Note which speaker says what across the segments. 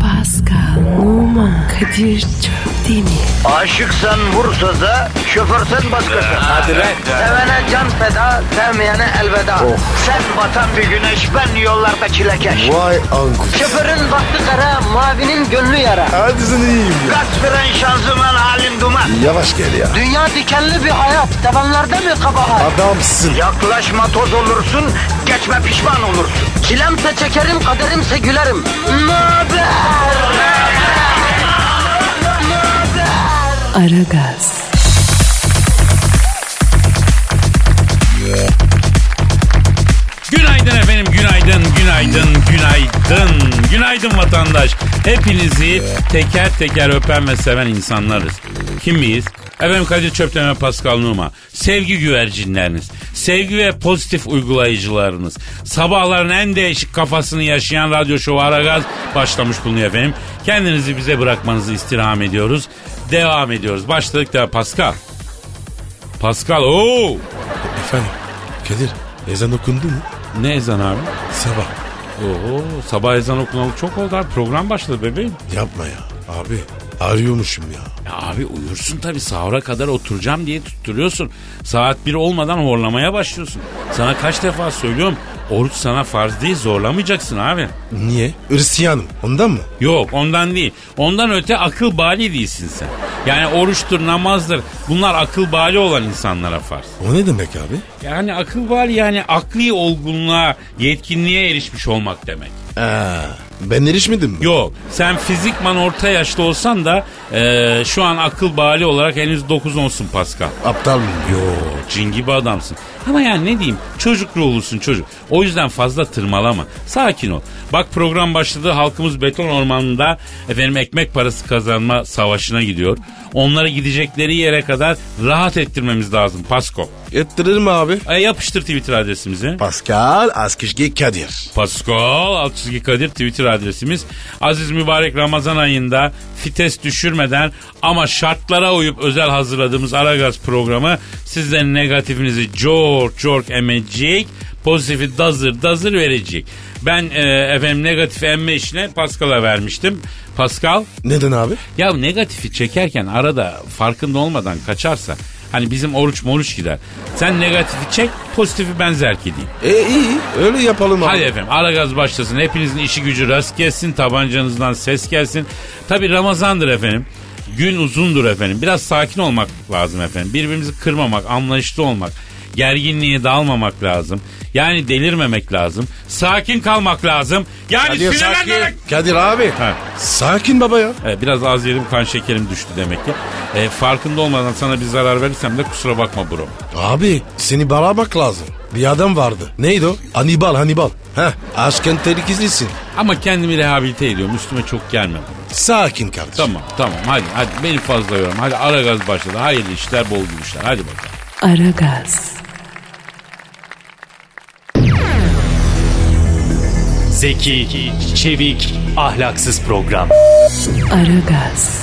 Speaker 1: Pascal, Oman, Kadir çok değil mi?
Speaker 2: Aşıksan vursa da, şoförsen başkasın.
Speaker 3: Hadi lan. Oh.
Speaker 2: Sevene can feda, sevmeyene elveda. Sen batan bir güneş, ben yollarda çilekeş.
Speaker 3: Vay anku.
Speaker 2: Şoförün baktı kara, mavinin gönlü yara.
Speaker 3: Hadi sen iyiyim ya.
Speaker 2: Kasperen şanzıman halin duman.
Speaker 3: Yavaş gel ya.
Speaker 2: Dünya dikenli bir hayat, sevenlerde mi kabahar?
Speaker 3: Adamsın.
Speaker 2: Yaklaşma toz olursun, geçme pişman olursun. Çilemse çekerim, kaderimse gülerim. Möber!
Speaker 1: Aragaz,
Speaker 4: Günaydın efendim, günaydın, günaydın, günaydın. Günaydın vatandaş. Hepinizi teker teker öpen ve seven insanlarız. Kim miyiz? Efendim Kadir Çöpten ve Pascal Numa. Sevgi güvercinleriniz, sevgi ve pozitif uygulayıcılarınız. Sabahların en değişik kafasını yaşayan radyo şovu Aragaz başlamış bulunuyor efendim. Kendinizi bize bırakmanızı istirham ediyoruz. Devam ediyoruz. Başladık da Pascal. Pascal ooo.
Speaker 5: Efendim Kadir ezan okundu mu?
Speaker 4: Ne ezan abi?
Speaker 5: Sabah.
Speaker 4: Oo, sabah ezan okunalı çok oldu abi. Program başladı bebeğim.
Speaker 5: Yapma ya. Abi arıyormuşum ya.
Speaker 4: Ya abi uyursun tabii sahura kadar oturacağım diye tutturuyorsun. Saat 1 olmadan horlamaya başlıyorsun. Sana kaç defa söylüyorum oruç sana farz değil zorlamayacaksın abi.
Speaker 5: Niye? Hristiyanım. Ondan mı?
Speaker 4: Yok ondan değil. Ondan öte akıl bali değilsin sen. Yani oruçtur namazdır bunlar akıl bali olan insanlara farz.
Speaker 5: O ne demek abi?
Speaker 4: Yani akıl bali yani akli olgunluğa yetkinliğe erişmiş olmak demek.
Speaker 5: Aa, ben erişmedim mi?
Speaker 4: Yok sen fizikman orta yaşlı olsan da e, şu an akıl bali olarak henüz 9 olsun Pascal.
Speaker 5: Aptal mıyım?
Speaker 4: Yo cin gibi adamsın. Ama yani ne diyeyim çocuk ruhlusun çocuk. O yüzden fazla tırmalama. Sakin ol. Bak program başladı halkımız beton ormanında efendim ekmek parası kazanma savaşına gidiyor. Onlara gidecekleri yere kadar rahat ettirmemiz lazım Pasko.
Speaker 5: Ettiririm abi.
Speaker 4: E, yapıştır Twitter adresimizi.
Speaker 5: Pascal Askışge Kadir.
Speaker 4: Pascal Altçizgi Kadir Twitter adresimiz. Aziz Mübarek Ramazan ayında fites düşürmeden ama şartlara uyup özel hazırladığımız Aragaz programı sizden negatifinizi çok çok emecek, pozitifi dazır dazır verecek. Ben e, efendim negatif emme işine Pascal'a vermiştim. Pascal
Speaker 5: Neden abi?
Speaker 4: ya negatifi çekerken arada farkında olmadan kaçarsa hani bizim oruç moruç gider. Sen negatifi çek pozitifi ben zerk edeyim.
Speaker 5: E iyi öyle yapalım abi.
Speaker 4: Hadi efendim ara gaz başlasın. Hepinizin işi gücü rast gelsin. Tabancanızdan ses gelsin. Tabi Ramazan'dır efendim. Gün uzundur efendim. Biraz sakin olmak lazım efendim. Birbirimizi kırmamak, anlayışlı olmak. Gerginliğe dalmamak lazım. Yani delirmemek lazım. Sakin kalmak lazım. Yani
Speaker 5: Kadir
Speaker 4: sinirlenmemek...
Speaker 5: sakin. Kadir abi.
Speaker 4: Ha.
Speaker 5: Sakin baba ya.
Speaker 4: Ee, Biraz az yedim kan şekerim düştü demek ki. Ee, farkında olmadan sana bir zarar verirsem de kusura bakma bro.
Speaker 5: Abi seni balamak lazım. Bir adam vardı. Neydi o? Hannibal Hannibal. Heh aşkın tehlikelisin.
Speaker 4: Ama kendimi rehabilite ediyorum. Üstüme çok gelme.
Speaker 5: Sakin kardeşim.
Speaker 4: Tamam tamam hadi hadi beni fazla yorma. Hadi ara gaz başladı. Hayırlı işler bol gülüşler. Hadi bakalım.
Speaker 1: Aragaz,
Speaker 6: Zeki, çevik, ahlaksız program.
Speaker 1: Aragaz,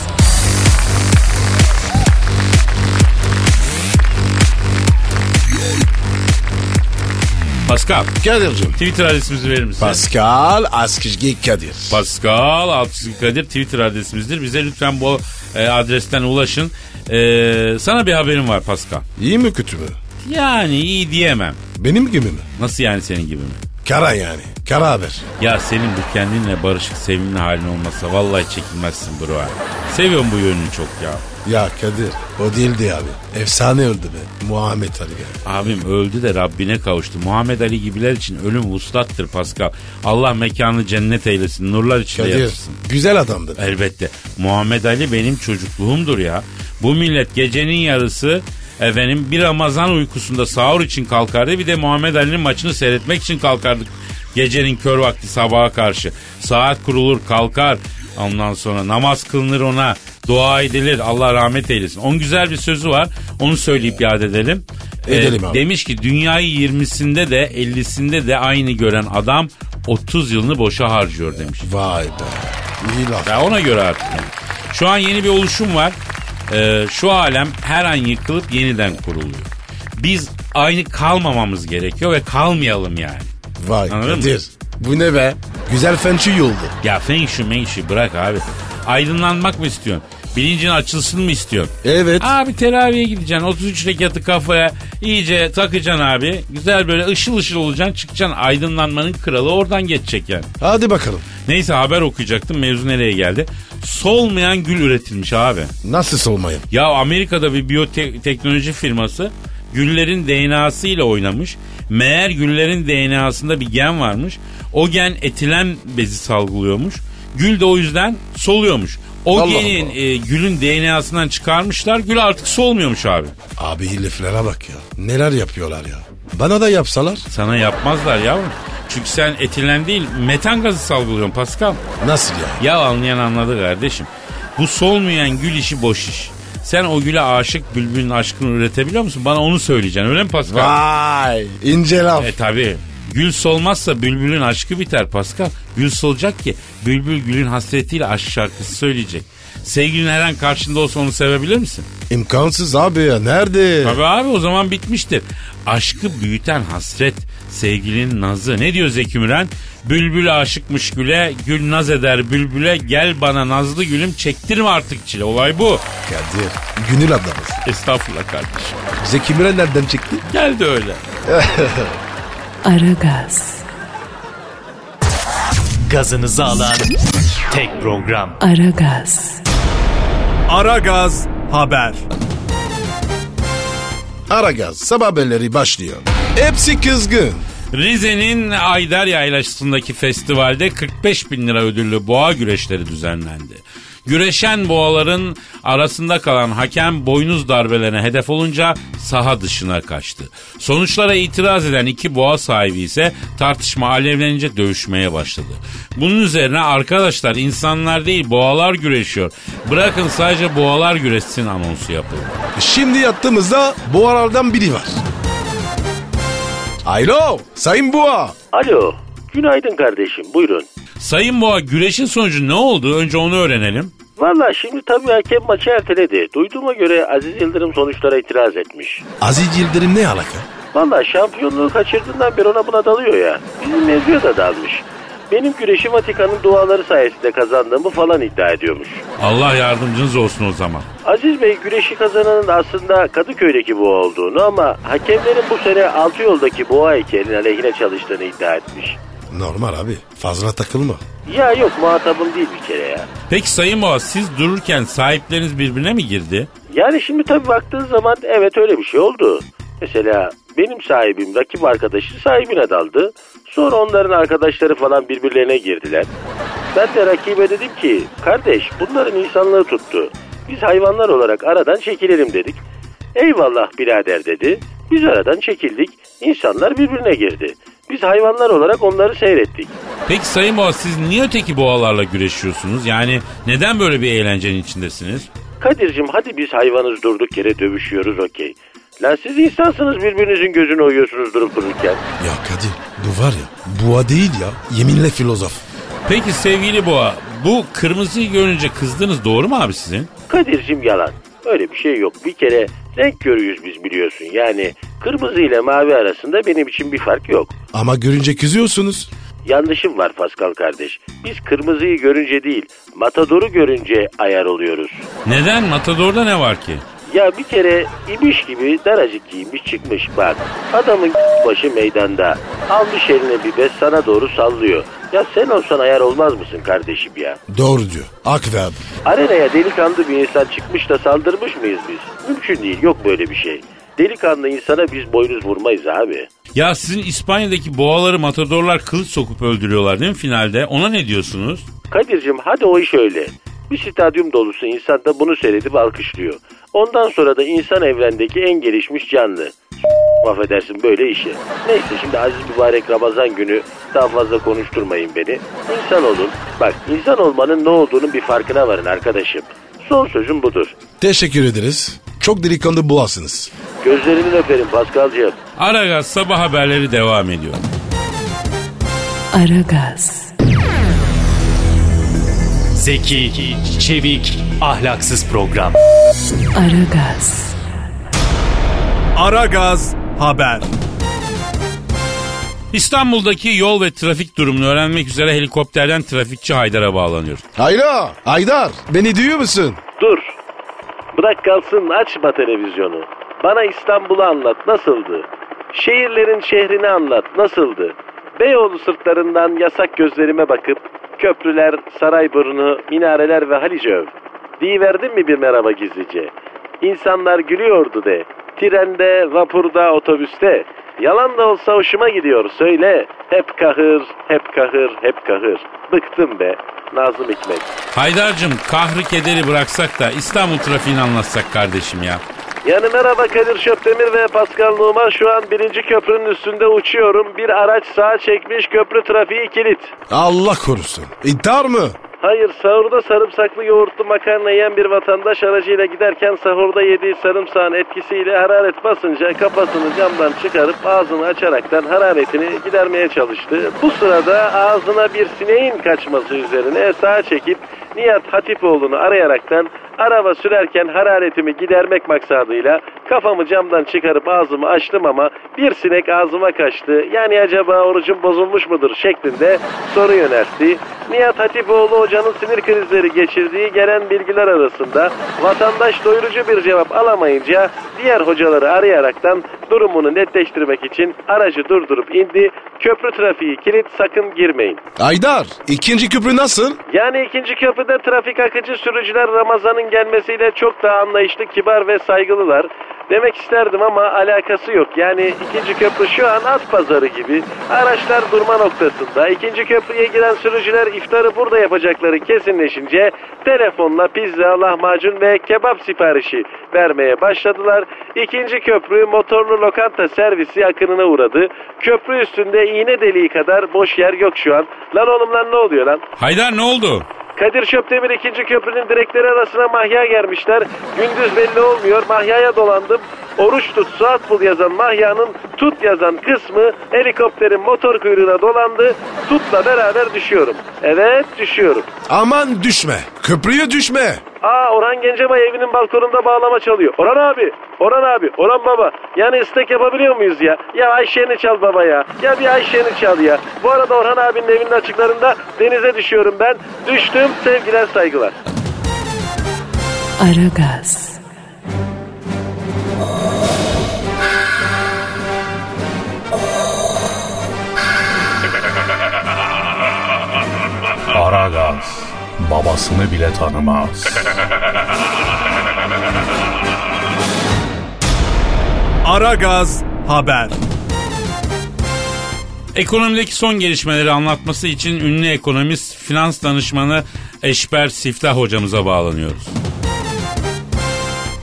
Speaker 4: Pascal
Speaker 5: Kadir'cim.
Speaker 4: Twitter adresimizi verir misin?
Speaker 5: Pascal Askışge Kadir.
Speaker 4: Pascal Altçizgi Kadir Twitter adresimizdir. Bize lütfen bu e, adresten ulaşın. E, sana bir haberim var Pascal.
Speaker 5: İyi mi kötü mü?
Speaker 4: Yani iyi diyemem.
Speaker 5: Benim gibi mi?
Speaker 4: Nasıl yani senin gibi mi?
Speaker 5: Kara yani. Kara haber.
Speaker 4: Ya senin bu kendinle barışık sevimli halin olmasa vallahi çekilmezsin bro. Seviyorum bu yönünü çok ya.
Speaker 5: Ya Kadir o değildi abi. Efsane öldü be. Muhammed Ali be.
Speaker 4: Abim öldü de Rabbine kavuştu. Muhammed Ali gibiler için ölüm vuslattır Pascal. Allah mekanını cennet eylesin. Nurlar içinde
Speaker 5: Kadir
Speaker 4: yatırsın.
Speaker 5: güzel adamdı.
Speaker 4: Elbette. Muhammed Ali benim çocukluğumdur ya. Bu millet gecenin yarısı efendim bir Ramazan uykusunda sahur için kalkardı. Bir de Muhammed Ali'nin maçını seyretmek için kalkardık. Gecenin kör vakti sabaha karşı. Saat kurulur kalkar. Ondan sonra namaz kılınır ona. Dua edilir. Allah rahmet eylesin. Onun güzel bir sözü var. Onu söyleyip yad edelim. Ee,
Speaker 5: Edelim abi.
Speaker 4: Demiş ki dünyayı 20'sinde de 50'sinde de aynı gören adam 30 yılını boşa harcıyor demiş.
Speaker 5: Vay be. İyi laf.
Speaker 4: Ya ona göre artık. yani. Şu an yeni bir oluşum var. Ee, şu alem her an yıkılıp yeniden kuruluyor. Biz aynı kalmamamız gerekiyor ve kalmayalım yani.
Speaker 5: Vay
Speaker 4: Anladın mı?
Speaker 5: Kadir. Bu ne be? Güzel fençi yoldu.
Speaker 4: Ya feng shui meng shui bırak abi. Aydınlanmak mı istiyorsun? Bilincin açılsın mı istiyorsun?
Speaker 5: Evet.
Speaker 4: Abi teraviye gideceksin. 33 rekatı kafaya iyice takacaksın abi. Güzel böyle ışıl ışıl olacaksın. Çıkacaksın aydınlanmanın kralı oradan geçecek yani.
Speaker 5: Hadi bakalım.
Speaker 4: Neyse haber okuyacaktım. Mevzu nereye geldi? Solmayan gül üretilmiş abi.
Speaker 5: Nasıl solmayın?
Speaker 4: Ya Amerika'da bir biyoteknoloji firması güllerin DNA'sı ile oynamış. Meğer güllerin DNA'sında bir gen varmış. O gen etilen bezi salgılıyormuş. Gül de o yüzden soluyormuş. O
Speaker 5: Allah
Speaker 4: genin e, gülün DNA'sından çıkarmışlar. Gül artık solmuyormuş abi.
Speaker 5: Abi heriflere bak ya. Neler yapıyorlar ya. Bana da yapsalar.
Speaker 4: Sana yapmazlar yavrum. Çünkü sen etilen değil metan gazı salgılıyorsun Pascal.
Speaker 5: Nasıl ya?
Speaker 4: Ya anlayan anladı kardeşim. Bu solmayan gül işi boş iş. Sen o güle aşık bülbülün aşkını üretebiliyor musun? Bana onu söyleyeceksin öyle mi Pascal?
Speaker 5: Vay. ince laf.
Speaker 4: E tabi. Gül solmazsa bülbülün aşkı biter Pascal. Gül solacak ki bülbül gülün hasretiyle aşk şarkısı söyleyecek. Sevgilin her an karşında olsa onu sevebilir misin?
Speaker 5: İmkansız abi ya. Nerede?
Speaker 4: Tabii abi o zaman bitmiştir. Aşkı büyüten hasret, sevgilinin nazı. Ne diyor Zeki Müren? Bülbül aşıkmış güle, gül naz eder bülbüle. Gel bana nazlı gülüm çektirme artık çile. Olay bu.
Speaker 5: Kadir. Günül ablamız.
Speaker 4: Estağfurullah kardeşim.
Speaker 5: Zeki Müren nereden çıktı?
Speaker 4: Geldi öyle.
Speaker 1: Aragaz,
Speaker 6: Gazınızı alan tek program.
Speaker 1: Aragaz,
Speaker 7: Ara Gaz Haber.
Speaker 5: Aragaz sabah haberleri başlıyor. Hepsi kızgın.
Speaker 4: Rize'nin Ayder Yaylası'ndaki festivalde 45 bin lira ödüllü boğa güreşleri düzenlendi. Güreşen boğaların arasında kalan hakem boynuz darbelerine hedef olunca saha dışına kaçtı. Sonuçlara itiraz eden iki boğa sahibi ise tartışma alevlenince dövüşmeye başladı. Bunun üzerine arkadaşlar insanlar değil boğalar güreşiyor. Bırakın sadece boğalar güreşsin anonsu yapıldı.
Speaker 5: Şimdi yattığımızda boğalardan biri var. Alo Sayın Boğa.
Speaker 8: Alo. Günaydın kardeşim. Buyurun.
Speaker 4: Sayın Boğa güreşin sonucu ne oldu? Önce onu öğrenelim.
Speaker 8: Valla şimdi tabii hakem maçı erteledi. Duyduğuma göre Aziz Yıldırım sonuçlara itiraz etmiş.
Speaker 5: Aziz Yıldırım ne alaka?
Speaker 8: Valla şampiyonluğu kaçırdığından beri ona buna dalıyor ya. Bizim mevzuya da dalmış. Benim güreşi Vatikan'ın duaları sayesinde kazandığımı falan iddia ediyormuş.
Speaker 4: Allah yardımcınız olsun o zaman.
Speaker 8: Aziz Bey güreşi kazananın aslında Kadıköy'deki boğa olduğunu ama hakemlerin bu sene altı yoldaki boğa heykelinin aleyhine çalıştığını iddia etmiş.
Speaker 5: Normal abi fazla takılma.
Speaker 8: Ya yok muhatabım değil bir kere ya.
Speaker 4: Peki Sayın Boğa siz dururken sahipleriniz birbirine mi girdi?
Speaker 8: Yani şimdi tabii baktığın zaman evet öyle bir şey oldu. Mesela benim sahibim rakip arkadaşı sahibine daldı. Sonra onların arkadaşları falan birbirlerine girdiler. Ben de rakibe dedim ki kardeş bunların insanlığı tuttu. Biz hayvanlar olarak aradan çekilelim dedik. Eyvallah birader dedi. Biz aradan çekildik. İnsanlar birbirine girdi. Biz hayvanlar olarak onları seyrettik.
Speaker 4: Peki Sayın Boğa siz niye öteki boğalarla güreşiyorsunuz? Yani neden böyle bir eğlencenin içindesiniz?
Speaker 8: Kadir'cim hadi biz hayvanız durduk yere dövüşüyoruz okey. Lan siz insansınız birbirinizin gözünü oyuyorsunuz durup dururken.
Speaker 5: Ya Kadir bu var ya boğa değil ya yeminle filozof.
Speaker 4: Peki sevgili Boğa bu kırmızıyı görünce kızdınız doğru mu abi sizin?
Speaker 8: Kadir'cim yalan. Öyle bir şey yok. Bir kere renk körüyüz biz biliyorsun. Yani kırmızı ile mavi arasında benim için bir fark yok.
Speaker 5: Ama görünce kızıyorsunuz.
Speaker 8: Yanlışım var Pascal kardeş. Biz kırmızıyı görünce değil, matadoru görünce ayar oluyoruz.
Speaker 4: Neden? Matador'da ne var ki?
Speaker 8: Ya bir kere ibiş gibi daracık giymiş çıkmış bak. Adamın başı meydanda. Almış eline bir bez sana doğru sallıyor. Ya sen olsan ayar olmaz mısın kardeşim ya?
Speaker 5: Doğru diyor. Hak verdim.
Speaker 8: Arenaya delikanlı bir insan çıkmış da saldırmış mıyız biz? Mümkün değil yok böyle bir şey. Delikanlı insana biz boynuz vurmayız abi.
Speaker 4: Ya sizin İspanya'daki boğaları matadorlar kılıç sokup öldürüyorlar değil mi finalde? Ona ne diyorsunuz?
Speaker 8: Kadir'cim hadi o iş öyle. Bir stadyum dolusu insan da bunu seyredip alkışlıyor. Ondan sonra da insan evrendeki en gelişmiş canlı. S- Affedersin böyle işi. Neyse şimdi Aziz Mübarek Ramazan günü daha fazla konuşturmayın beni. İnsan olun. Bak insan olmanın ne olduğunun bir farkına varın arkadaşım. Son sözüm budur.
Speaker 5: Teşekkür ederiz. Çok delikanlı boğasınız.
Speaker 8: Gözlerinden öperim Paskal'cığım.
Speaker 4: Aragaz sabah haberleri devam ediyor.
Speaker 1: Aragaz,
Speaker 6: Zeki, çevik, ahlaksız program.
Speaker 1: Aragaz,
Speaker 7: Ara Gaz Haber.
Speaker 4: İstanbul'daki yol ve trafik durumunu öğrenmek üzere helikopterden trafikçi Haydar'a bağlanıyoruz.
Speaker 3: Hayra, Haydar beni duyuyor musun?
Speaker 8: Dur. Bırak kalsın açma televizyonu. Bana İstanbul'u anlat nasıldı? Şehirlerin şehrini anlat nasıldı? Beyoğlu sırtlarından yasak gözlerime bakıp köprüler, Sarayburnu, minareler ve Halice öv. Diyiverdin mi bir merhaba gizlice? İnsanlar gülüyordu de. Trende, vapurda, otobüste. Yalan da olsa hoşuma gidiyor söyle. Hep kahır, hep kahır, hep kahır. Bıktım be. Nazım Hikmet.
Speaker 4: Haydar'cığım kahrı kederi bıraksak da İstanbul trafiğini anlatsak kardeşim ya.
Speaker 8: Yani merhaba Kadir Şöpdemir ve Pascal Numa şu an birinci köprünün üstünde uçuyorum. Bir araç sağa çekmiş köprü trafiği kilit.
Speaker 5: Allah korusun. İntihar mı?
Speaker 8: Hayır sahurda sarımsaklı yoğurtlu makarna yiyen bir vatandaş aracıyla giderken sahurda yediği sarımsağın etkisiyle hararet basınca kafasını camdan çıkarıp ağzını açaraktan hararetini gidermeye çalıştı. Bu sırada ağzına bir sineğin kaçması üzerine sağa çekip Nihat Hatipoğlu'nu arayaraktan araba sürerken hararetimi gidermek maksadıyla kafamı camdan çıkarıp ağzımı açtım ama bir sinek ağzıma kaçtı. Yani acaba orucum bozulmuş mudur şeklinde soru yöneltti. Nihat Hatipoğlu hocanın sinir krizleri geçirdiği gelen bilgiler arasında vatandaş doyurucu bir cevap alamayınca diğer hocaları arayaraktan durumunu netleştirmek için aracı durdurup indi. Köprü trafiği kilit sakın girmeyin.
Speaker 5: Haydar ikinci köprü nasıl?
Speaker 8: Yani ikinci köprüde trafik akıcı sürücüler Ramazan'ın gelmesiyle çok daha anlayışlı, kibar ve saygılılar. Demek isterdim ama alakası yok. Yani ikinci köprü şu an at pazarı gibi. Araçlar durma noktasında. İkinci köprüye giren sürücüler iftarı burada yapacakları kesinleşince telefonla pizza, lahmacun ve kebap siparişi vermeye başladılar. İkinci köprü motorlu lokanta servisi akınına uğradı. Köprü üstünde iğne deliği kadar boş yer yok şu an. Lan oğlum lan ne oluyor lan?
Speaker 4: Haydar ne oldu?
Speaker 8: Kadir Şöpdemir ikinci köprünün direkleri arasına mahya germişler. Gündüz belli olmuyor. Mahyaya dolandım. Oruç tut, suat bul yazan mahyanın tut yazan kısmı helikopterin motor kuyruğuna dolandı. Tutla beraber düşüyorum. Evet düşüyorum.
Speaker 5: Aman düşme. Köprüye düşme.
Speaker 8: Aa Orhan Gencebay evinin balkonunda bağlama çalıyor. Orhan abi, Orhan abi, Orhan baba. Yani istek yapabiliyor muyuz ya? Ya Ayşe'ni çal baba ya. Ya bir Ayşe'ni çal ya. Bu arada Orhan abinin evinin açıklarında denize düşüyorum ben. Düştüm sevgiler saygılar.
Speaker 1: Aragaz,
Speaker 9: Aragaz babasını bile tanımaz.
Speaker 7: Aragaz Haber.
Speaker 4: Ekonomideki son gelişmeleri anlatması için ünlü ekonomist, finans danışmanı Eşber Siftah hocamıza bağlanıyoruz.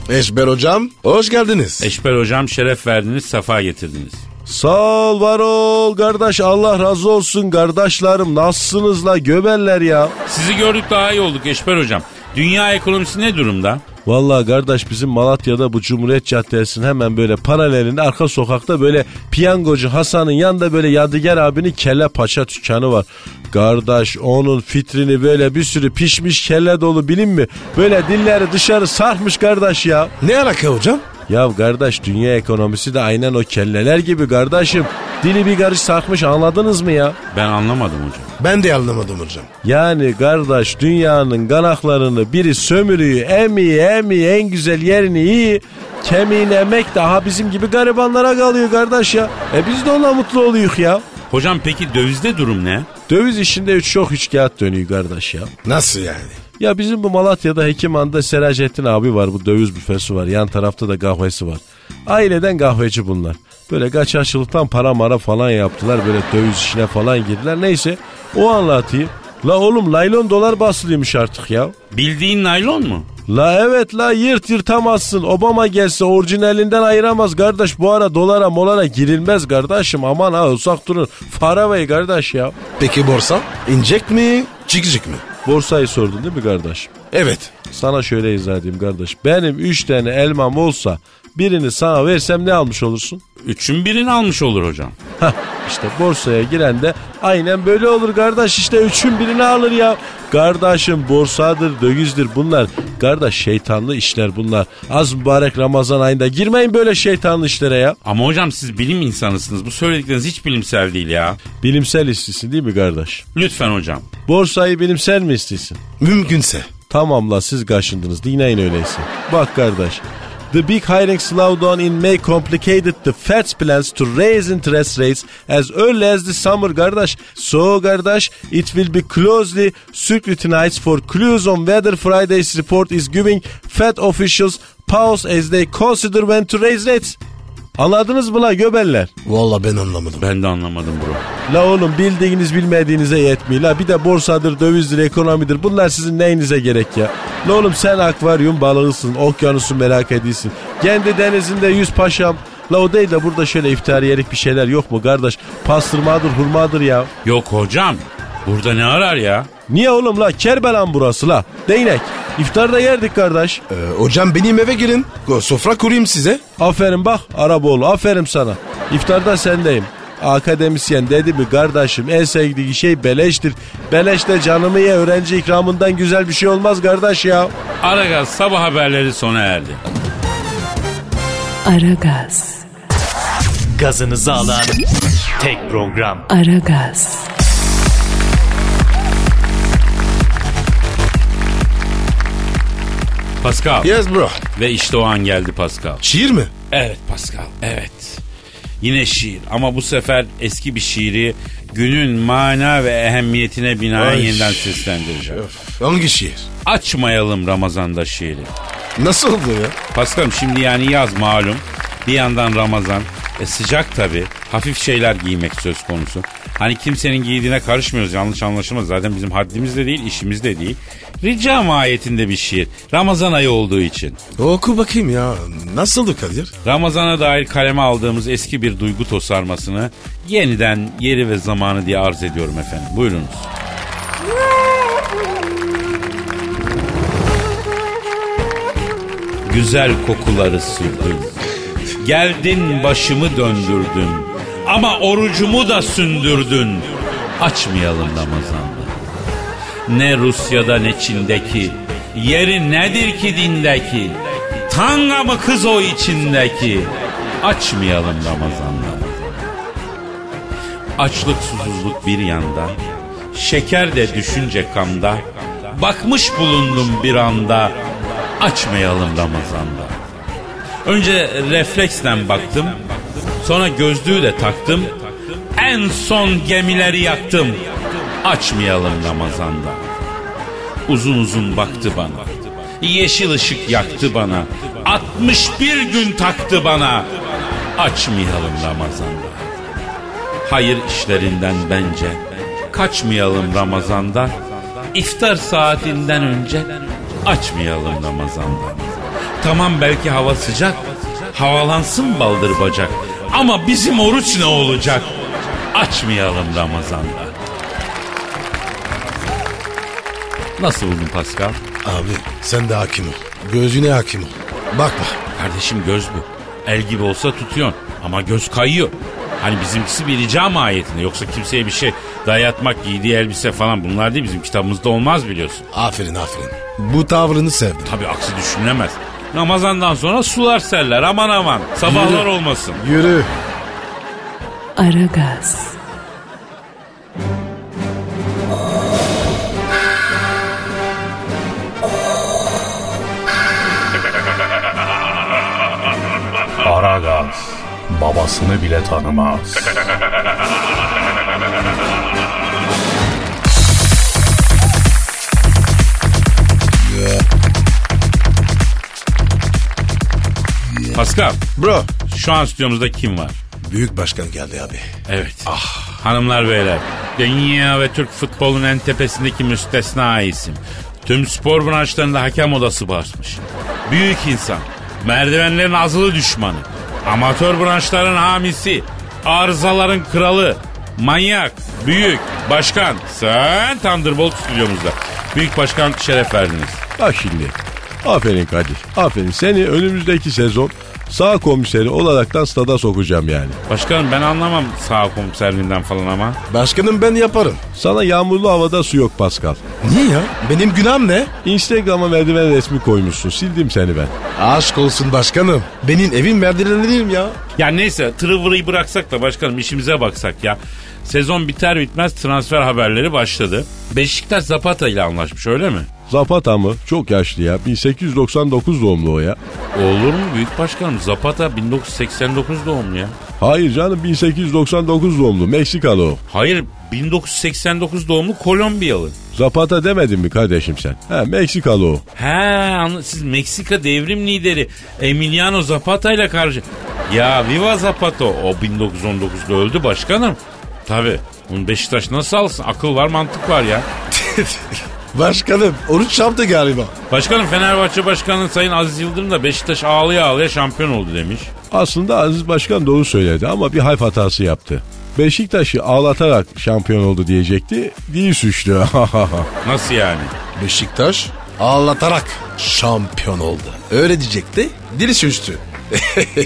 Speaker 5: Eşber hocam hoş geldiniz.
Speaker 4: Eşber hocam şeref verdiniz, sefa getirdiniz.
Speaker 5: E, Sağ ol var ol kardeş Allah razı olsun kardeşlerim nasılsınız la göberler ya.
Speaker 4: Sizi gördük daha iyi olduk Eşber hocam. Dünya ekonomisi ne durumda?
Speaker 5: Vallahi kardeş bizim Malatya'da bu Cumhuriyet Caddesi'nin hemen böyle paralelinde arka sokakta böyle piyangocu Hasan'ın yanında böyle Yadigar abinin kelle paça dükkanı var. Kardeş onun fitrini böyle bir sürü pişmiş kelle dolu bilin mi? Böyle dilleri dışarı sarmış kardeş ya. Ne alaka hocam? Ya kardeş dünya ekonomisi de aynen o kelleler gibi kardeşim. Dili bir karış sarkmış anladınız mı ya?
Speaker 4: Ben anlamadım hocam.
Speaker 5: Ben de anlamadım hocam. Yani kardeş dünyanın kanaklarını biri sömürüyor, emi emi en güzel yerini iyi. Kemiğini emek daha bizim gibi garibanlara kalıyor kardeş ya. E biz de onunla mutlu oluyoruz ya.
Speaker 4: Hocam peki dövizde durum ne?
Speaker 5: Döviz işinde üç çok üç kağıt dönüyor kardeş ya.
Speaker 3: Nasıl yani?
Speaker 5: Ya bizim bu Malatya'da Hekimhan'da Seracettin abi var. Bu döviz büfesi var. Yan tarafta da kahvesi var. Aileden kahveci bunlar. Böyle kaçakçılıktan para mara falan yaptılar. Böyle döviz işine falan girdiler. Neyse o anlatayım. La oğlum laylon dolar basılıymış artık ya.
Speaker 4: Bildiğin naylon mu?
Speaker 5: La evet la yırt yırtamazsın. Obama gelse orijinalinden ayıramaz kardeş. Bu ara dolara molara girilmez kardeşim. Aman ha uzak durun. Faraway kardeş ya.
Speaker 3: Peki borsa? İnecek mi? Çıkacak mı?
Speaker 5: Borsayı sordun değil mi kardeş?
Speaker 3: Evet.
Speaker 5: Sana şöyle izah edeyim kardeş. Benim 3 tane elmam olsa birini sana versem ne almış olursun?
Speaker 4: Üçün birini almış olur hocam.
Speaker 5: Hah işte borsaya giren de aynen böyle olur kardeş işte üçün birini alır ya. Kardeşim borsadır, dövizdir bunlar. Kardeş şeytanlı işler bunlar. Az mübarek Ramazan ayında girmeyin böyle şeytanlı işlere ya.
Speaker 4: Ama hocam siz bilim insanısınız. Bu söyledikleriniz hiç bilimsel değil ya.
Speaker 5: Bilimsel istisin değil mi kardeş?
Speaker 4: Lütfen hocam.
Speaker 5: Borsayı bilimsel mi istisin?
Speaker 3: Mümkünse.
Speaker 5: Tamam la siz kaşındınız. Dinleyin öyleyse. Bak kardeş. The big hiring slowdown in May complicated the Fed's plans to raise interest rates as early as the summer kardeş. So kardeş it will be closely scrutinized for clues on whether Friday's report is giving Fed officials pause as they consider when to raise rates. Anladınız mı la göbeller?
Speaker 3: Valla ben anlamadım.
Speaker 4: Ben de anlamadım bro.
Speaker 5: La oğlum bildiğiniz bilmediğinize yetmiyor. La bir de borsadır, dövizdir, ekonomidir. Bunlar sizin neyinize gerek ya? La oğlum sen akvaryum balığısın, okyanusu merak ediyorsun. Kendi denizinde yüz paşam. La o değil de burada şöyle iftariyelik bir şeyler yok mu kardeş? Pastırmadır, hurmadır ya.
Speaker 4: Yok hocam. Burada ne arar ya?
Speaker 5: Niye oğlum la? Kerbelan burası la. Değnek. İftarda yerdik kardeş.
Speaker 3: Ee, hocam benim eve girin. Ko- Sofra kurayım size.
Speaker 5: Aferin bak Araboğlu aferin sana. İftarda sendeyim. Akademisyen dedi mi kardeşim en sevdiği şey beleştir. Beleş de canımı ye öğrenci ikramından güzel bir şey olmaz kardeş ya.
Speaker 4: Aragaz sabah haberleri sona erdi.
Speaker 1: Aragaz,
Speaker 6: Gazınızı alan tek program.
Speaker 1: Aragaz,
Speaker 4: Pascal.
Speaker 3: Yes bro.
Speaker 4: Ve işte o an geldi Pascal.
Speaker 3: Şiir mi?
Speaker 4: Evet Pascal, evet. Yine şiir ama bu sefer eski bir şiiri günün mana ve ehemmiyetine binaen
Speaker 3: Ay.
Speaker 4: yeniden seslendireceğim.
Speaker 3: Öf, hangi şiir?
Speaker 4: Açmayalım Ramazan'da şiiri.
Speaker 3: Nasıl oldu ya?
Speaker 4: Paskal'ım şimdi yani yaz malum. Bir yandan Ramazan. E sıcak tabii. Hafif şeyler giymek söz konusu. Hani kimsenin giydiğine karışmıyoruz yanlış anlaşılmaz. Zaten bizim haddimiz de değil, işimiz de değil. Rica mahiyetinde bir şiir. Ramazan ayı olduğu için.
Speaker 3: Oku bakayım ya. Nasıldı Kadir?
Speaker 4: Ramazana dair kaleme aldığımız eski bir duygu tosarmasını yeniden yeri ve zamanı diye arz ediyorum efendim. Buyurunuz. Güzel kokuları sürdün. Geldin başımı döndürdün. Ama orucumu da sündürdün. Açmayalım Ramazan'da. Ne Rusya'da ne Çin'deki Yeri nedir ki dindeki Tanga mı kız o içindeki Açmayalım Ramazan'da Açlık susuzluk bir yanda Şeker de düşünce kamda Bakmış bulundum bir anda Açmayalım Ramazan'da Önce refleksten baktım Sonra gözlüğü de taktım En son gemileri yaktım Açmayalım Ramazan'da Uzun uzun baktı bana Yeşil ışık yaktı bana 61 gün taktı bana Açmayalım Ramazan'da Hayır işlerinden bence Kaçmayalım Ramazan'da İftar saatinden önce Açmayalım Ramazan'da Tamam belki hava sıcak Havalansın baldır bacak Ama bizim oruç ne olacak Açmayalım Ramazan'da Nasıl buldun Pascal?
Speaker 3: Abi sen de hakim ol. Gözüne hakim ol. Bakma.
Speaker 4: Kardeşim göz bu. El gibi olsa tutuyorsun ama göz kayıyor. Hani bizimkisi bir rica mahiyetinde yoksa kimseye bir şey dayatmak, giydiği elbise falan bunlar değil bizim kitabımızda olmaz biliyorsun.
Speaker 3: Aferin aferin. Bu tavrını sevdim.
Speaker 4: Tabi aksi düşünülemez. Ramazandan sonra sular serler aman aman sabahlar olmasın.
Speaker 3: Yürü.
Speaker 1: Aragaz,
Speaker 9: Aragaz babasını bile tanımaz.
Speaker 4: Pascal
Speaker 3: Bro.
Speaker 4: şu an stüdyomuzda kim var?
Speaker 3: Büyük başkan geldi abi.
Speaker 4: Evet. Ah, Hanımlar beyler. Dünya ve Türk futbolunun en tepesindeki müstesna isim. Tüm spor branşlarında hakem odası basmış. Büyük insan. Merdivenlerin azılı düşmanı. Amatör branşların hamisi. Arızaların kralı. Manyak. Büyük. Başkan. Sen Thunderbolt stüdyomuzda. Büyük başkan şeref verdiniz.
Speaker 5: Bak şimdi Aferin Kadir. Aferin. Seni önümüzdeki sezon sağ komiseri olaraktan stada sokacağım yani.
Speaker 4: Başkanım ben anlamam sağ komiserliğinden falan ama.
Speaker 3: Başkanım ben yaparım.
Speaker 5: Sana yağmurlu havada su yok Pascal.
Speaker 3: Niye ya? Benim günahım ne?
Speaker 5: Instagram'a merdiven resmi koymuşsun. Sildim seni ben.
Speaker 3: Aşk olsun başkanım. Benim evim merdivenleriyim ya.
Speaker 4: Ya neyse tırıvırıyı bıraksak da başkanım işimize baksak ya. Sezon biter bitmez transfer haberleri başladı. Beşiktaş Zapata ile anlaşmış öyle mi?
Speaker 5: Zapata mı? Çok yaşlı ya. 1899 doğumlu o ya.
Speaker 4: Olur mu büyük başkanım? Zapata 1989 doğumlu ya.
Speaker 5: Hayır canım 1899 doğumlu. Meksikalı o.
Speaker 4: Hayır 1989 doğumlu Kolombiyalı.
Speaker 5: Zapata demedin mi kardeşim sen? Ha Meksikalı o.
Speaker 4: He anla- siz Meksika devrim lideri Emiliano Zapata ile karşı. Ya Viva Zapata o 1919'da öldü başkanım. Tabi bunu Beşiktaş nasıl alsın? Akıl var mantık var ya.
Speaker 3: Başkanım oruç yaptı galiba.
Speaker 4: Başkanım Fenerbahçe Başkanı Sayın Aziz Yıldırım da Beşiktaş ağlaya ağlaya şampiyon oldu demiş.
Speaker 5: Aslında Aziz Başkan doğru söyledi ama bir harf hatası yaptı. Beşiktaş'ı ağlatarak şampiyon oldu diyecekti. Değil suçlu.
Speaker 4: Nasıl yani?
Speaker 3: Beşiktaş ağlatarak şampiyon oldu. Öyle diyecekti. Dili sürçtü.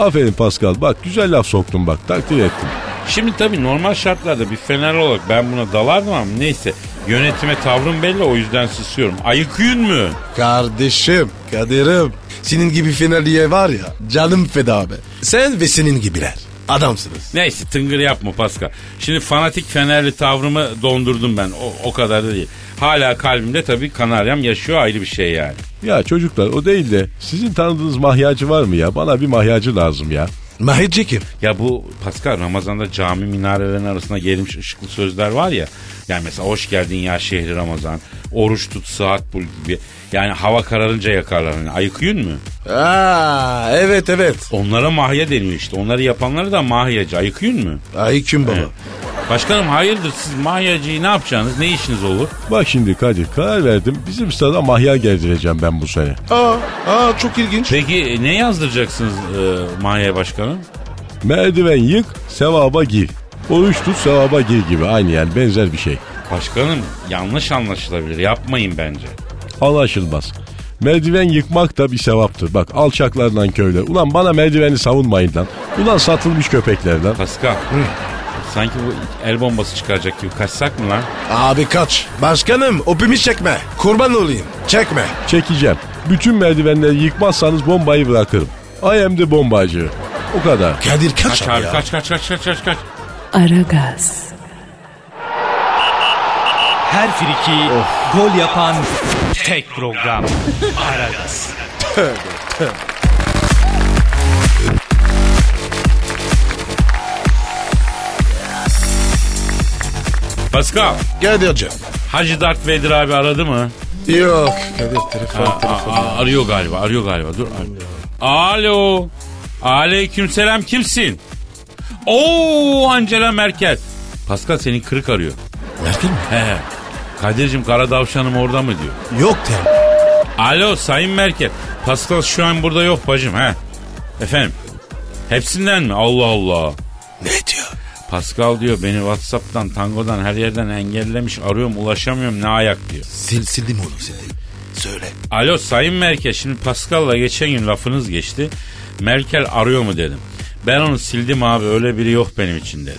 Speaker 5: Aferin Pascal. Bak güzel laf soktun bak. Takdir ettim.
Speaker 4: Şimdi tabii normal şartlarda bir Fener olarak ben buna dalardım ama neyse. Yönetime tavrım belli o yüzden susuyorum. Ayıkıyın mü?
Speaker 3: Kardeşim, kaderim. Senin gibi Fenerliye var ya canım feda be. Sen ve senin gibiler. Adamsınız.
Speaker 4: Neyse tıngır yapma Pascal. Şimdi fanatik Fenerli tavrımı dondurdum ben. O, o kadar da değil. Hala kalbimde tabii kanaryam yaşıyor ayrı bir şey yani.
Speaker 5: Ya çocuklar o değil de sizin tanıdığınız mahyacı var mı ya? Bana bir mahyacı lazım ya.
Speaker 3: Mahirci kim?
Speaker 4: Ya bu Pascal Ramazan'da cami minarelerinin arasına gelmiş ışıklı sözler var ya. Yani mesela hoş geldin ya şehri Ramazan. Oruç tut saat bul gibi. Yani hava kararınca yakarlar. hani. Yani ayıkıyın mı?
Speaker 3: Aa, evet evet.
Speaker 4: Onlara mahya deniyor işte. Onları yapanlara da mahyacı. Ayıkıyın mı?
Speaker 3: Ay kim baba?
Speaker 4: Başkanım hayırdır siz mahyacıyı ne yapacaksınız? Ne işiniz olur?
Speaker 5: Bak şimdi Kadir karar verdim. Bizim stada mahya gezdireceğim ben bu sene.
Speaker 3: Aa, aa çok ilginç.
Speaker 4: Peki e, ne yazdıracaksınız e, mahya başkanım?
Speaker 5: Merdiven yık, sevaba gir. Oruç tut, sevaba gir gibi. Aynı yani benzer bir şey.
Speaker 4: Başkanım yanlış anlaşılabilir. Yapmayın bence.
Speaker 5: Anlaşılmaz. Merdiven yıkmak da bir sevaptır. Bak alçaklardan köyler. Ulan bana merdiveni savunmayın lan. Ulan satılmış köpeklerden.
Speaker 4: Pascal. Sanki bu el bombası çıkaracak gibi kaçsak mı lan?
Speaker 3: Abi kaç. Başkanım opimi çekme. Kurban olayım. Çekme.
Speaker 5: Çekeceğim. Bütün merdivenleri yıkmazsanız bombayı bırakırım. I am the bombacı. O kadar.
Speaker 3: Kadir kaç,
Speaker 4: Kaç
Speaker 3: abi
Speaker 4: abi
Speaker 3: ya.
Speaker 4: kaç kaç kaç kaç kaç kaç.
Speaker 1: Aragaz,
Speaker 6: Her friki gol yapan tek program. Aragaz.
Speaker 4: Pascal.
Speaker 3: Kadir'cim.
Speaker 4: Hacı Dert Vedir abi aradı mı?
Speaker 3: Yok. Kadir telefon telefon.
Speaker 4: Aa, arıyor galiba arıyor galiba dur. Alo. Aleykümselam kimsin? Oo Angela Merkel. Pascal senin kırık arıyor.
Speaker 3: Merkez mi?
Speaker 4: He. Kadir'cim kara davşanım orada mı diyor.
Speaker 3: Yok ya.
Speaker 4: Alo Sayın Merkel. Pascal şu an burada yok bacım he. Efendim. Hepsinden mi? Allah Allah.
Speaker 3: Ne diyor?
Speaker 4: Pascal diyor beni Whatsapp'tan, Tango'dan her yerden engellemiş. Arıyorum ulaşamıyorum ne ayak diyor.
Speaker 3: Sil, sildim onu sildim. Söyle.
Speaker 4: Alo Sayın Merkel şimdi Pascal'la geçen gün lafınız geçti. Merkel arıyor mu dedim. Ben onu sildim abi öyle biri yok benim için dedi.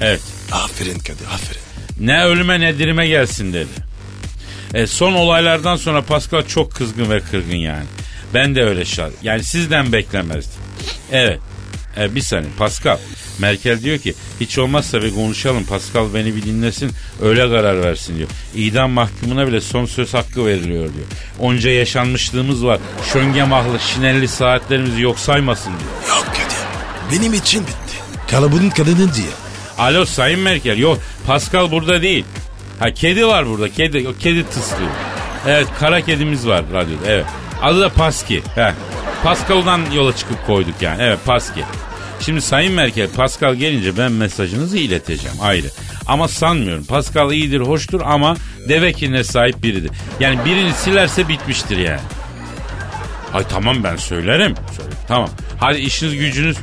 Speaker 4: Evet.
Speaker 3: Aferin Kadir aferin.
Speaker 4: Ne ölüme ne dirime gelsin dedi. E, son olaylardan sonra Pascal çok kızgın ve kırgın yani. Ben de öyle şart. Yani sizden beklemezdim. Evet. E, bir saniye Pascal. Merkel diyor ki hiç olmazsa bir konuşalım. Pascal beni bir dinlesin öyle karar versin diyor. İdam mahkumuna bile son söz hakkı veriliyor diyor. Onca yaşanmışlığımız var. Şönge mahlı şinelli saatlerimizi yok saymasın diyor.
Speaker 3: Yok Kadir. Benim için bitti. Kalabunun kadını diye.
Speaker 4: Alo Sayın Merkel. Yok Pascal burada değil. Ha kedi var burada. Kedi, o kedi tıslıyor. Evet kara kedimiz var radyoda. Evet. Adı da Paski. He. Pascal'dan yola çıkıp koyduk yani. Evet Paski. Şimdi Sayın Merkel Pascal gelince ben mesajınızı ileteceğim ayrı. Ama sanmıyorum. Pascal iyidir, hoştur ama deve kinine sahip biridir. Yani birini silerse bitmiştir yani. Ay tamam ben söylerim. Söyle. Tamam. Hadi işiniz gücünüz.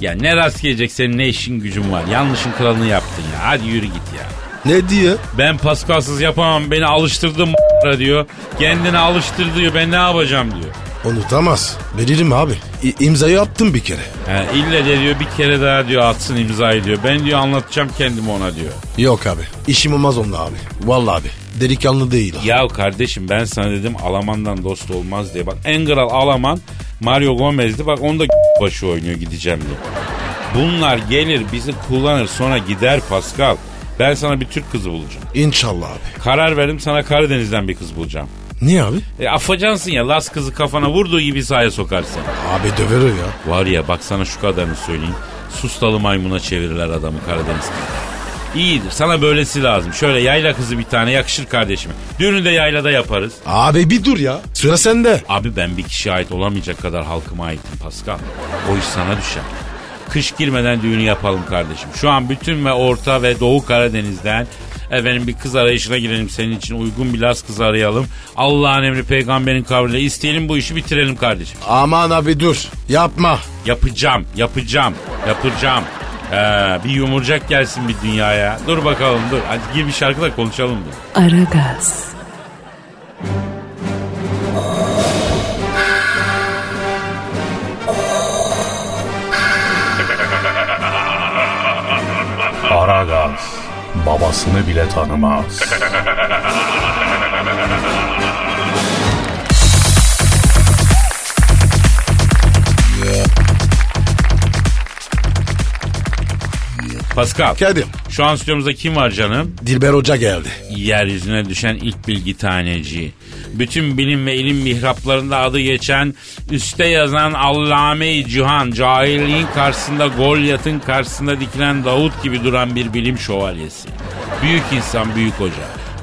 Speaker 4: Ya ne rast gelecek senin ne işin gücün var. Yanlışın kralını yaptın ya. Hadi yürü git ya.
Speaker 3: Ne diyor?
Speaker 4: Ben Pascal'sız yapamam beni alıştırdım diyor. Kendini alıştır diyor ben ne yapacağım diyor.
Speaker 3: Unutamaz. Bilirim abi. İ- imzayı attım bir kere.
Speaker 4: Ha, ille de diyor bir kere daha diyor atsın imzayı diyor. Ben diyor anlatacağım kendimi ona diyor.
Speaker 3: Yok abi. İşim olmaz onunla abi. Vallahi abi. Delikanlı değil. o.
Speaker 4: Ya kardeşim ben sana dedim Alaman'dan dost olmaz diye. Bak en kral Alaman Mario Gomez'di. Bak onda başı oynuyor gideceğim diye. Bunlar gelir bizi kullanır sonra gider Pascal. Ben sana bir Türk kızı bulacağım.
Speaker 3: İnşallah abi.
Speaker 4: Karar verdim sana Karadeniz'den bir kız bulacağım.
Speaker 3: Niye abi?
Speaker 4: E afacansın ya Las kızı kafana vurduğu gibi sahaya sokarsın.
Speaker 3: Abi döver o ya.
Speaker 4: Var ya baksana şu kadarını söyleyeyim. Sustalı maymuna çevirirler adamı Karadeniz'de. İyidir sana böylesi lazım. Şöyle yayla kızı bir tane yakışır kardeşime. Düğünü de yaylada yaparız.
Speaker 3: Abi bir dur ya. Sıra sende.
Speaker 4: Abi ben bir kişiye ait olamayacak kadar halkıma aitim Pascal. O iş sana düşer. Kış girmeden düğünü yapalım kardeşim. Şu an bütün ve Orta ve Doğu Karadeniz'den efendim bir kız arayışına girelim senin için uygun bir Las kızı arayalım. Allah'ın emri peygamberin kavliyle isteyelim bu işi bitirelim kardeşim.
Speaker 3: Aman abi dur. Yapma.
Speaker 4: Yapacağım, yapacağım, yapacağım. Ee, bir yumurcak gelsin bir dünyaya. Dur bakalım dur. Hadi gir bir şarkı da konuşalım dur.
Speaker 1: Aragaz,
Speaker 9: Aragaz babasını bile tanımaz.
Speaker 4: Pascal.
Speaker 3: Kadir.
Speaker 4: Şu an stüdyomuzda kim var canım?
Speaker 3: Dilber Hoca geldi.
Speaker 4: yeryüzüne düşen ilk bilgi taneci. Bütün bilim ve ilim mihraplarında adı geçen, üste yazan Allame-i Cihan, cahilliğin karşısında Golyat'ın karşısında dikilen Davut gibi duran bir bilim şövalyesi. Büyük insan, büyük hoca.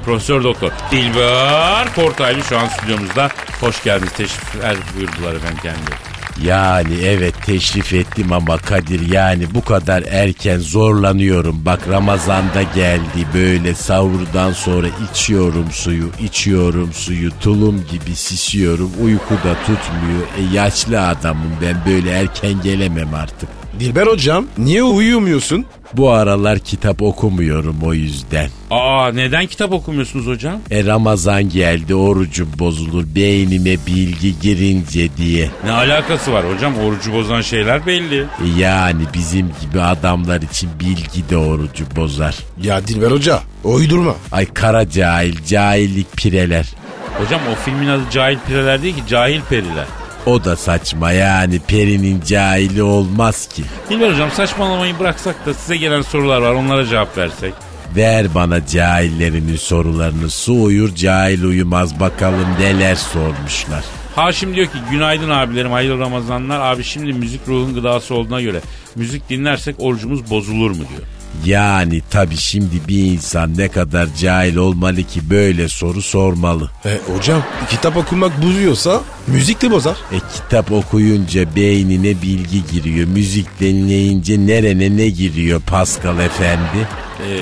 Speaker 4: Profesör Doktor Dilber Kortaylı şu an stüdyomuzda. Hoş geldiniz. Teşekkürler buyurdular efendim kendileri.
Speaker 5: Yani evet teşrif ettim ama Kadir yani bu kadar erken zorlanıyorum. Bak Ramazan'da geldi böyle sahurdan sonra içiyorum suyu, içiyorum suyu, tulum gibi sisiyorum. Uyku da tutmuyor. E yaşlı adamım ben böyle erken gelemem artık.
Speaker 3: Dilber Hocam niye uyumuyorsun?
Speaker 5: Bu aralar kitap okumuyorum o yüzden.
Speaker 4: Aa neden kitap okumuyorsunuz hocam?
Speaker 5: E Ramazan geldi orucum bozulur beynime bilgi girince diye.
Speaker 4: Ne alakası var hocam? Orucu bozan şeyler belli.
Speaker 5: E yani bizim gibi adamlar için bilgi de orucu bozar.
Speaker 3: Ya Dilber Hoca uydurma.
Speaker 5: Ay kara cahil, cahillik pireler.
Speaker 4: Hocam o filmin adı Cahil Pireler değil ki Cahil Periler.
Speaker 5: O da saçma yani perinin cahili olmaz ki.
Speaker 4: Bilmiyorum hocam saçmalamayı bıraksak da size gelen sorular var onlara cevap versek.
Speaker 5: Ver bana cahillerinin sorularını su uyur cahil uyumaz bakalım neler sormuşlar.
Speaker 4: Haşim diyor ki günaydın abilerim hayırlı Ramazanlar. Abi şimdi müzik ruhun gıdası olduğuna göre müzik dinlersek orucumuz bozulur mu diyor.
Speaker 5: Yani tabi şimdi bir insan ne kadar cahil olmalı ki böyle soru sormalı.
Speaker 3: E, hocam kitap okumak bozuyorsa müzik de bozar.
Speaker 5: E kitap okuyunca beynine bilgi giriyor. Müzik dinleyince nerene ne giriyor Pascal efendi?
Speaker 4: Ee,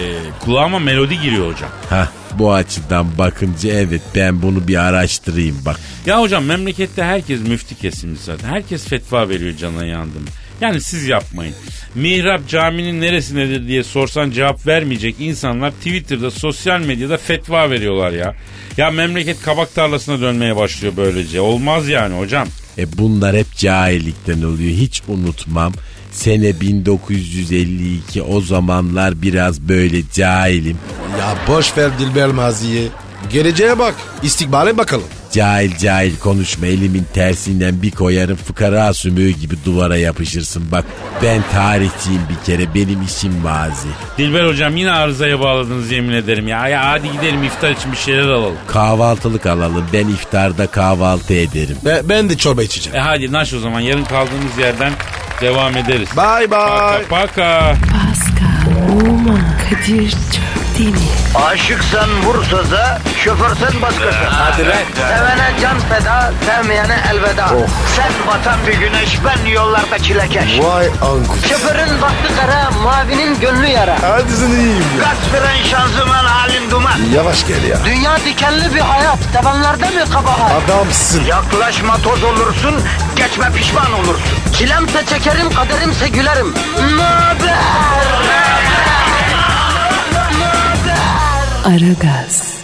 Speaker 4: kulağıma melodi giriyor hocam.
Speaker 5: Hah bu açıdan bakınca evet ben bunu bir araştırayım bak.
Speaker 4: Ya hocam memlekette herkes müftü kesilmiş zaten. Herkes fetva veriyor canına yandım. Yani siz yapmayın. Mihrap caminin neresindedir diye sorsan cevap vermeyecek insanlar Twitter'da, sosyal medyada fetva veriyorlar ya. Ya memleket kabak tarlasına dönmeye başlıyor böylece. Olmaz yani hocam.
Speaker 5: E bunlar hep cahillikten oluyor hiç unutmam. Sene 1952 o zamanlar biraz böyle cahilim.
Speaker 3: Ya boş ver Dilber Mazi'yi. Geleceğe bak. İstikbale bakalım.
Speaker 5: Cahil cahil konuşma elimin tersinden bir koyarım fıkara sümüğü gibi duvara yapışırsın bak. Ben tarihçiyim bir kere benim işim mazi.
Speaker 4: Dilber hocam yine arızaya bağladınız yemin ederim ya. Ya hadi gidelim iftar için bir şeyler alalım.
Speaker 5: Kahvaltılık alalım ben iftarda kahvaltı ederim.
Speaker 3: Ben, ben de çorba içeceğim.
Speaker 4: E hadi naş o zaman yarın kaldığımız yerden devam ederiz.
Speaker 3: Bye bye.
Speaker 4: Paka paka.
Speaker 1: Pascal, Oman, Kadir çok değil mi?
Speaker 2: Aşıksan vursa da, şoförsen başkasın.
Speaker 3: Ee,
Speaker 2: Hadi Sevene can feda, sevmeyene elveda.
Speaker 3: Oh.
Speaker 2: Sen batan bir güneş, ben yollarda çilekeş.
Speaker 3: Vay anku.
Speaker 2: Şoförün baktı kara, mavinin gönlü yara.
Speaker 3: Hadi sen iyiyim ya.
Speaker 2: Kasperen şanzıman halin duman.
Speaker 3: Yavaş gel ya.
Speaker 2: Dünya dikenli bir hayat, sevenlerde mi kabahar?
Speaker 3: Adamsın.
Speaker 2: Yaklaşma toz olursun, geçme pişman olursun. Çilemse çekerim, kaderimse gülerim. Möber!
Speaker 1: Aragaz.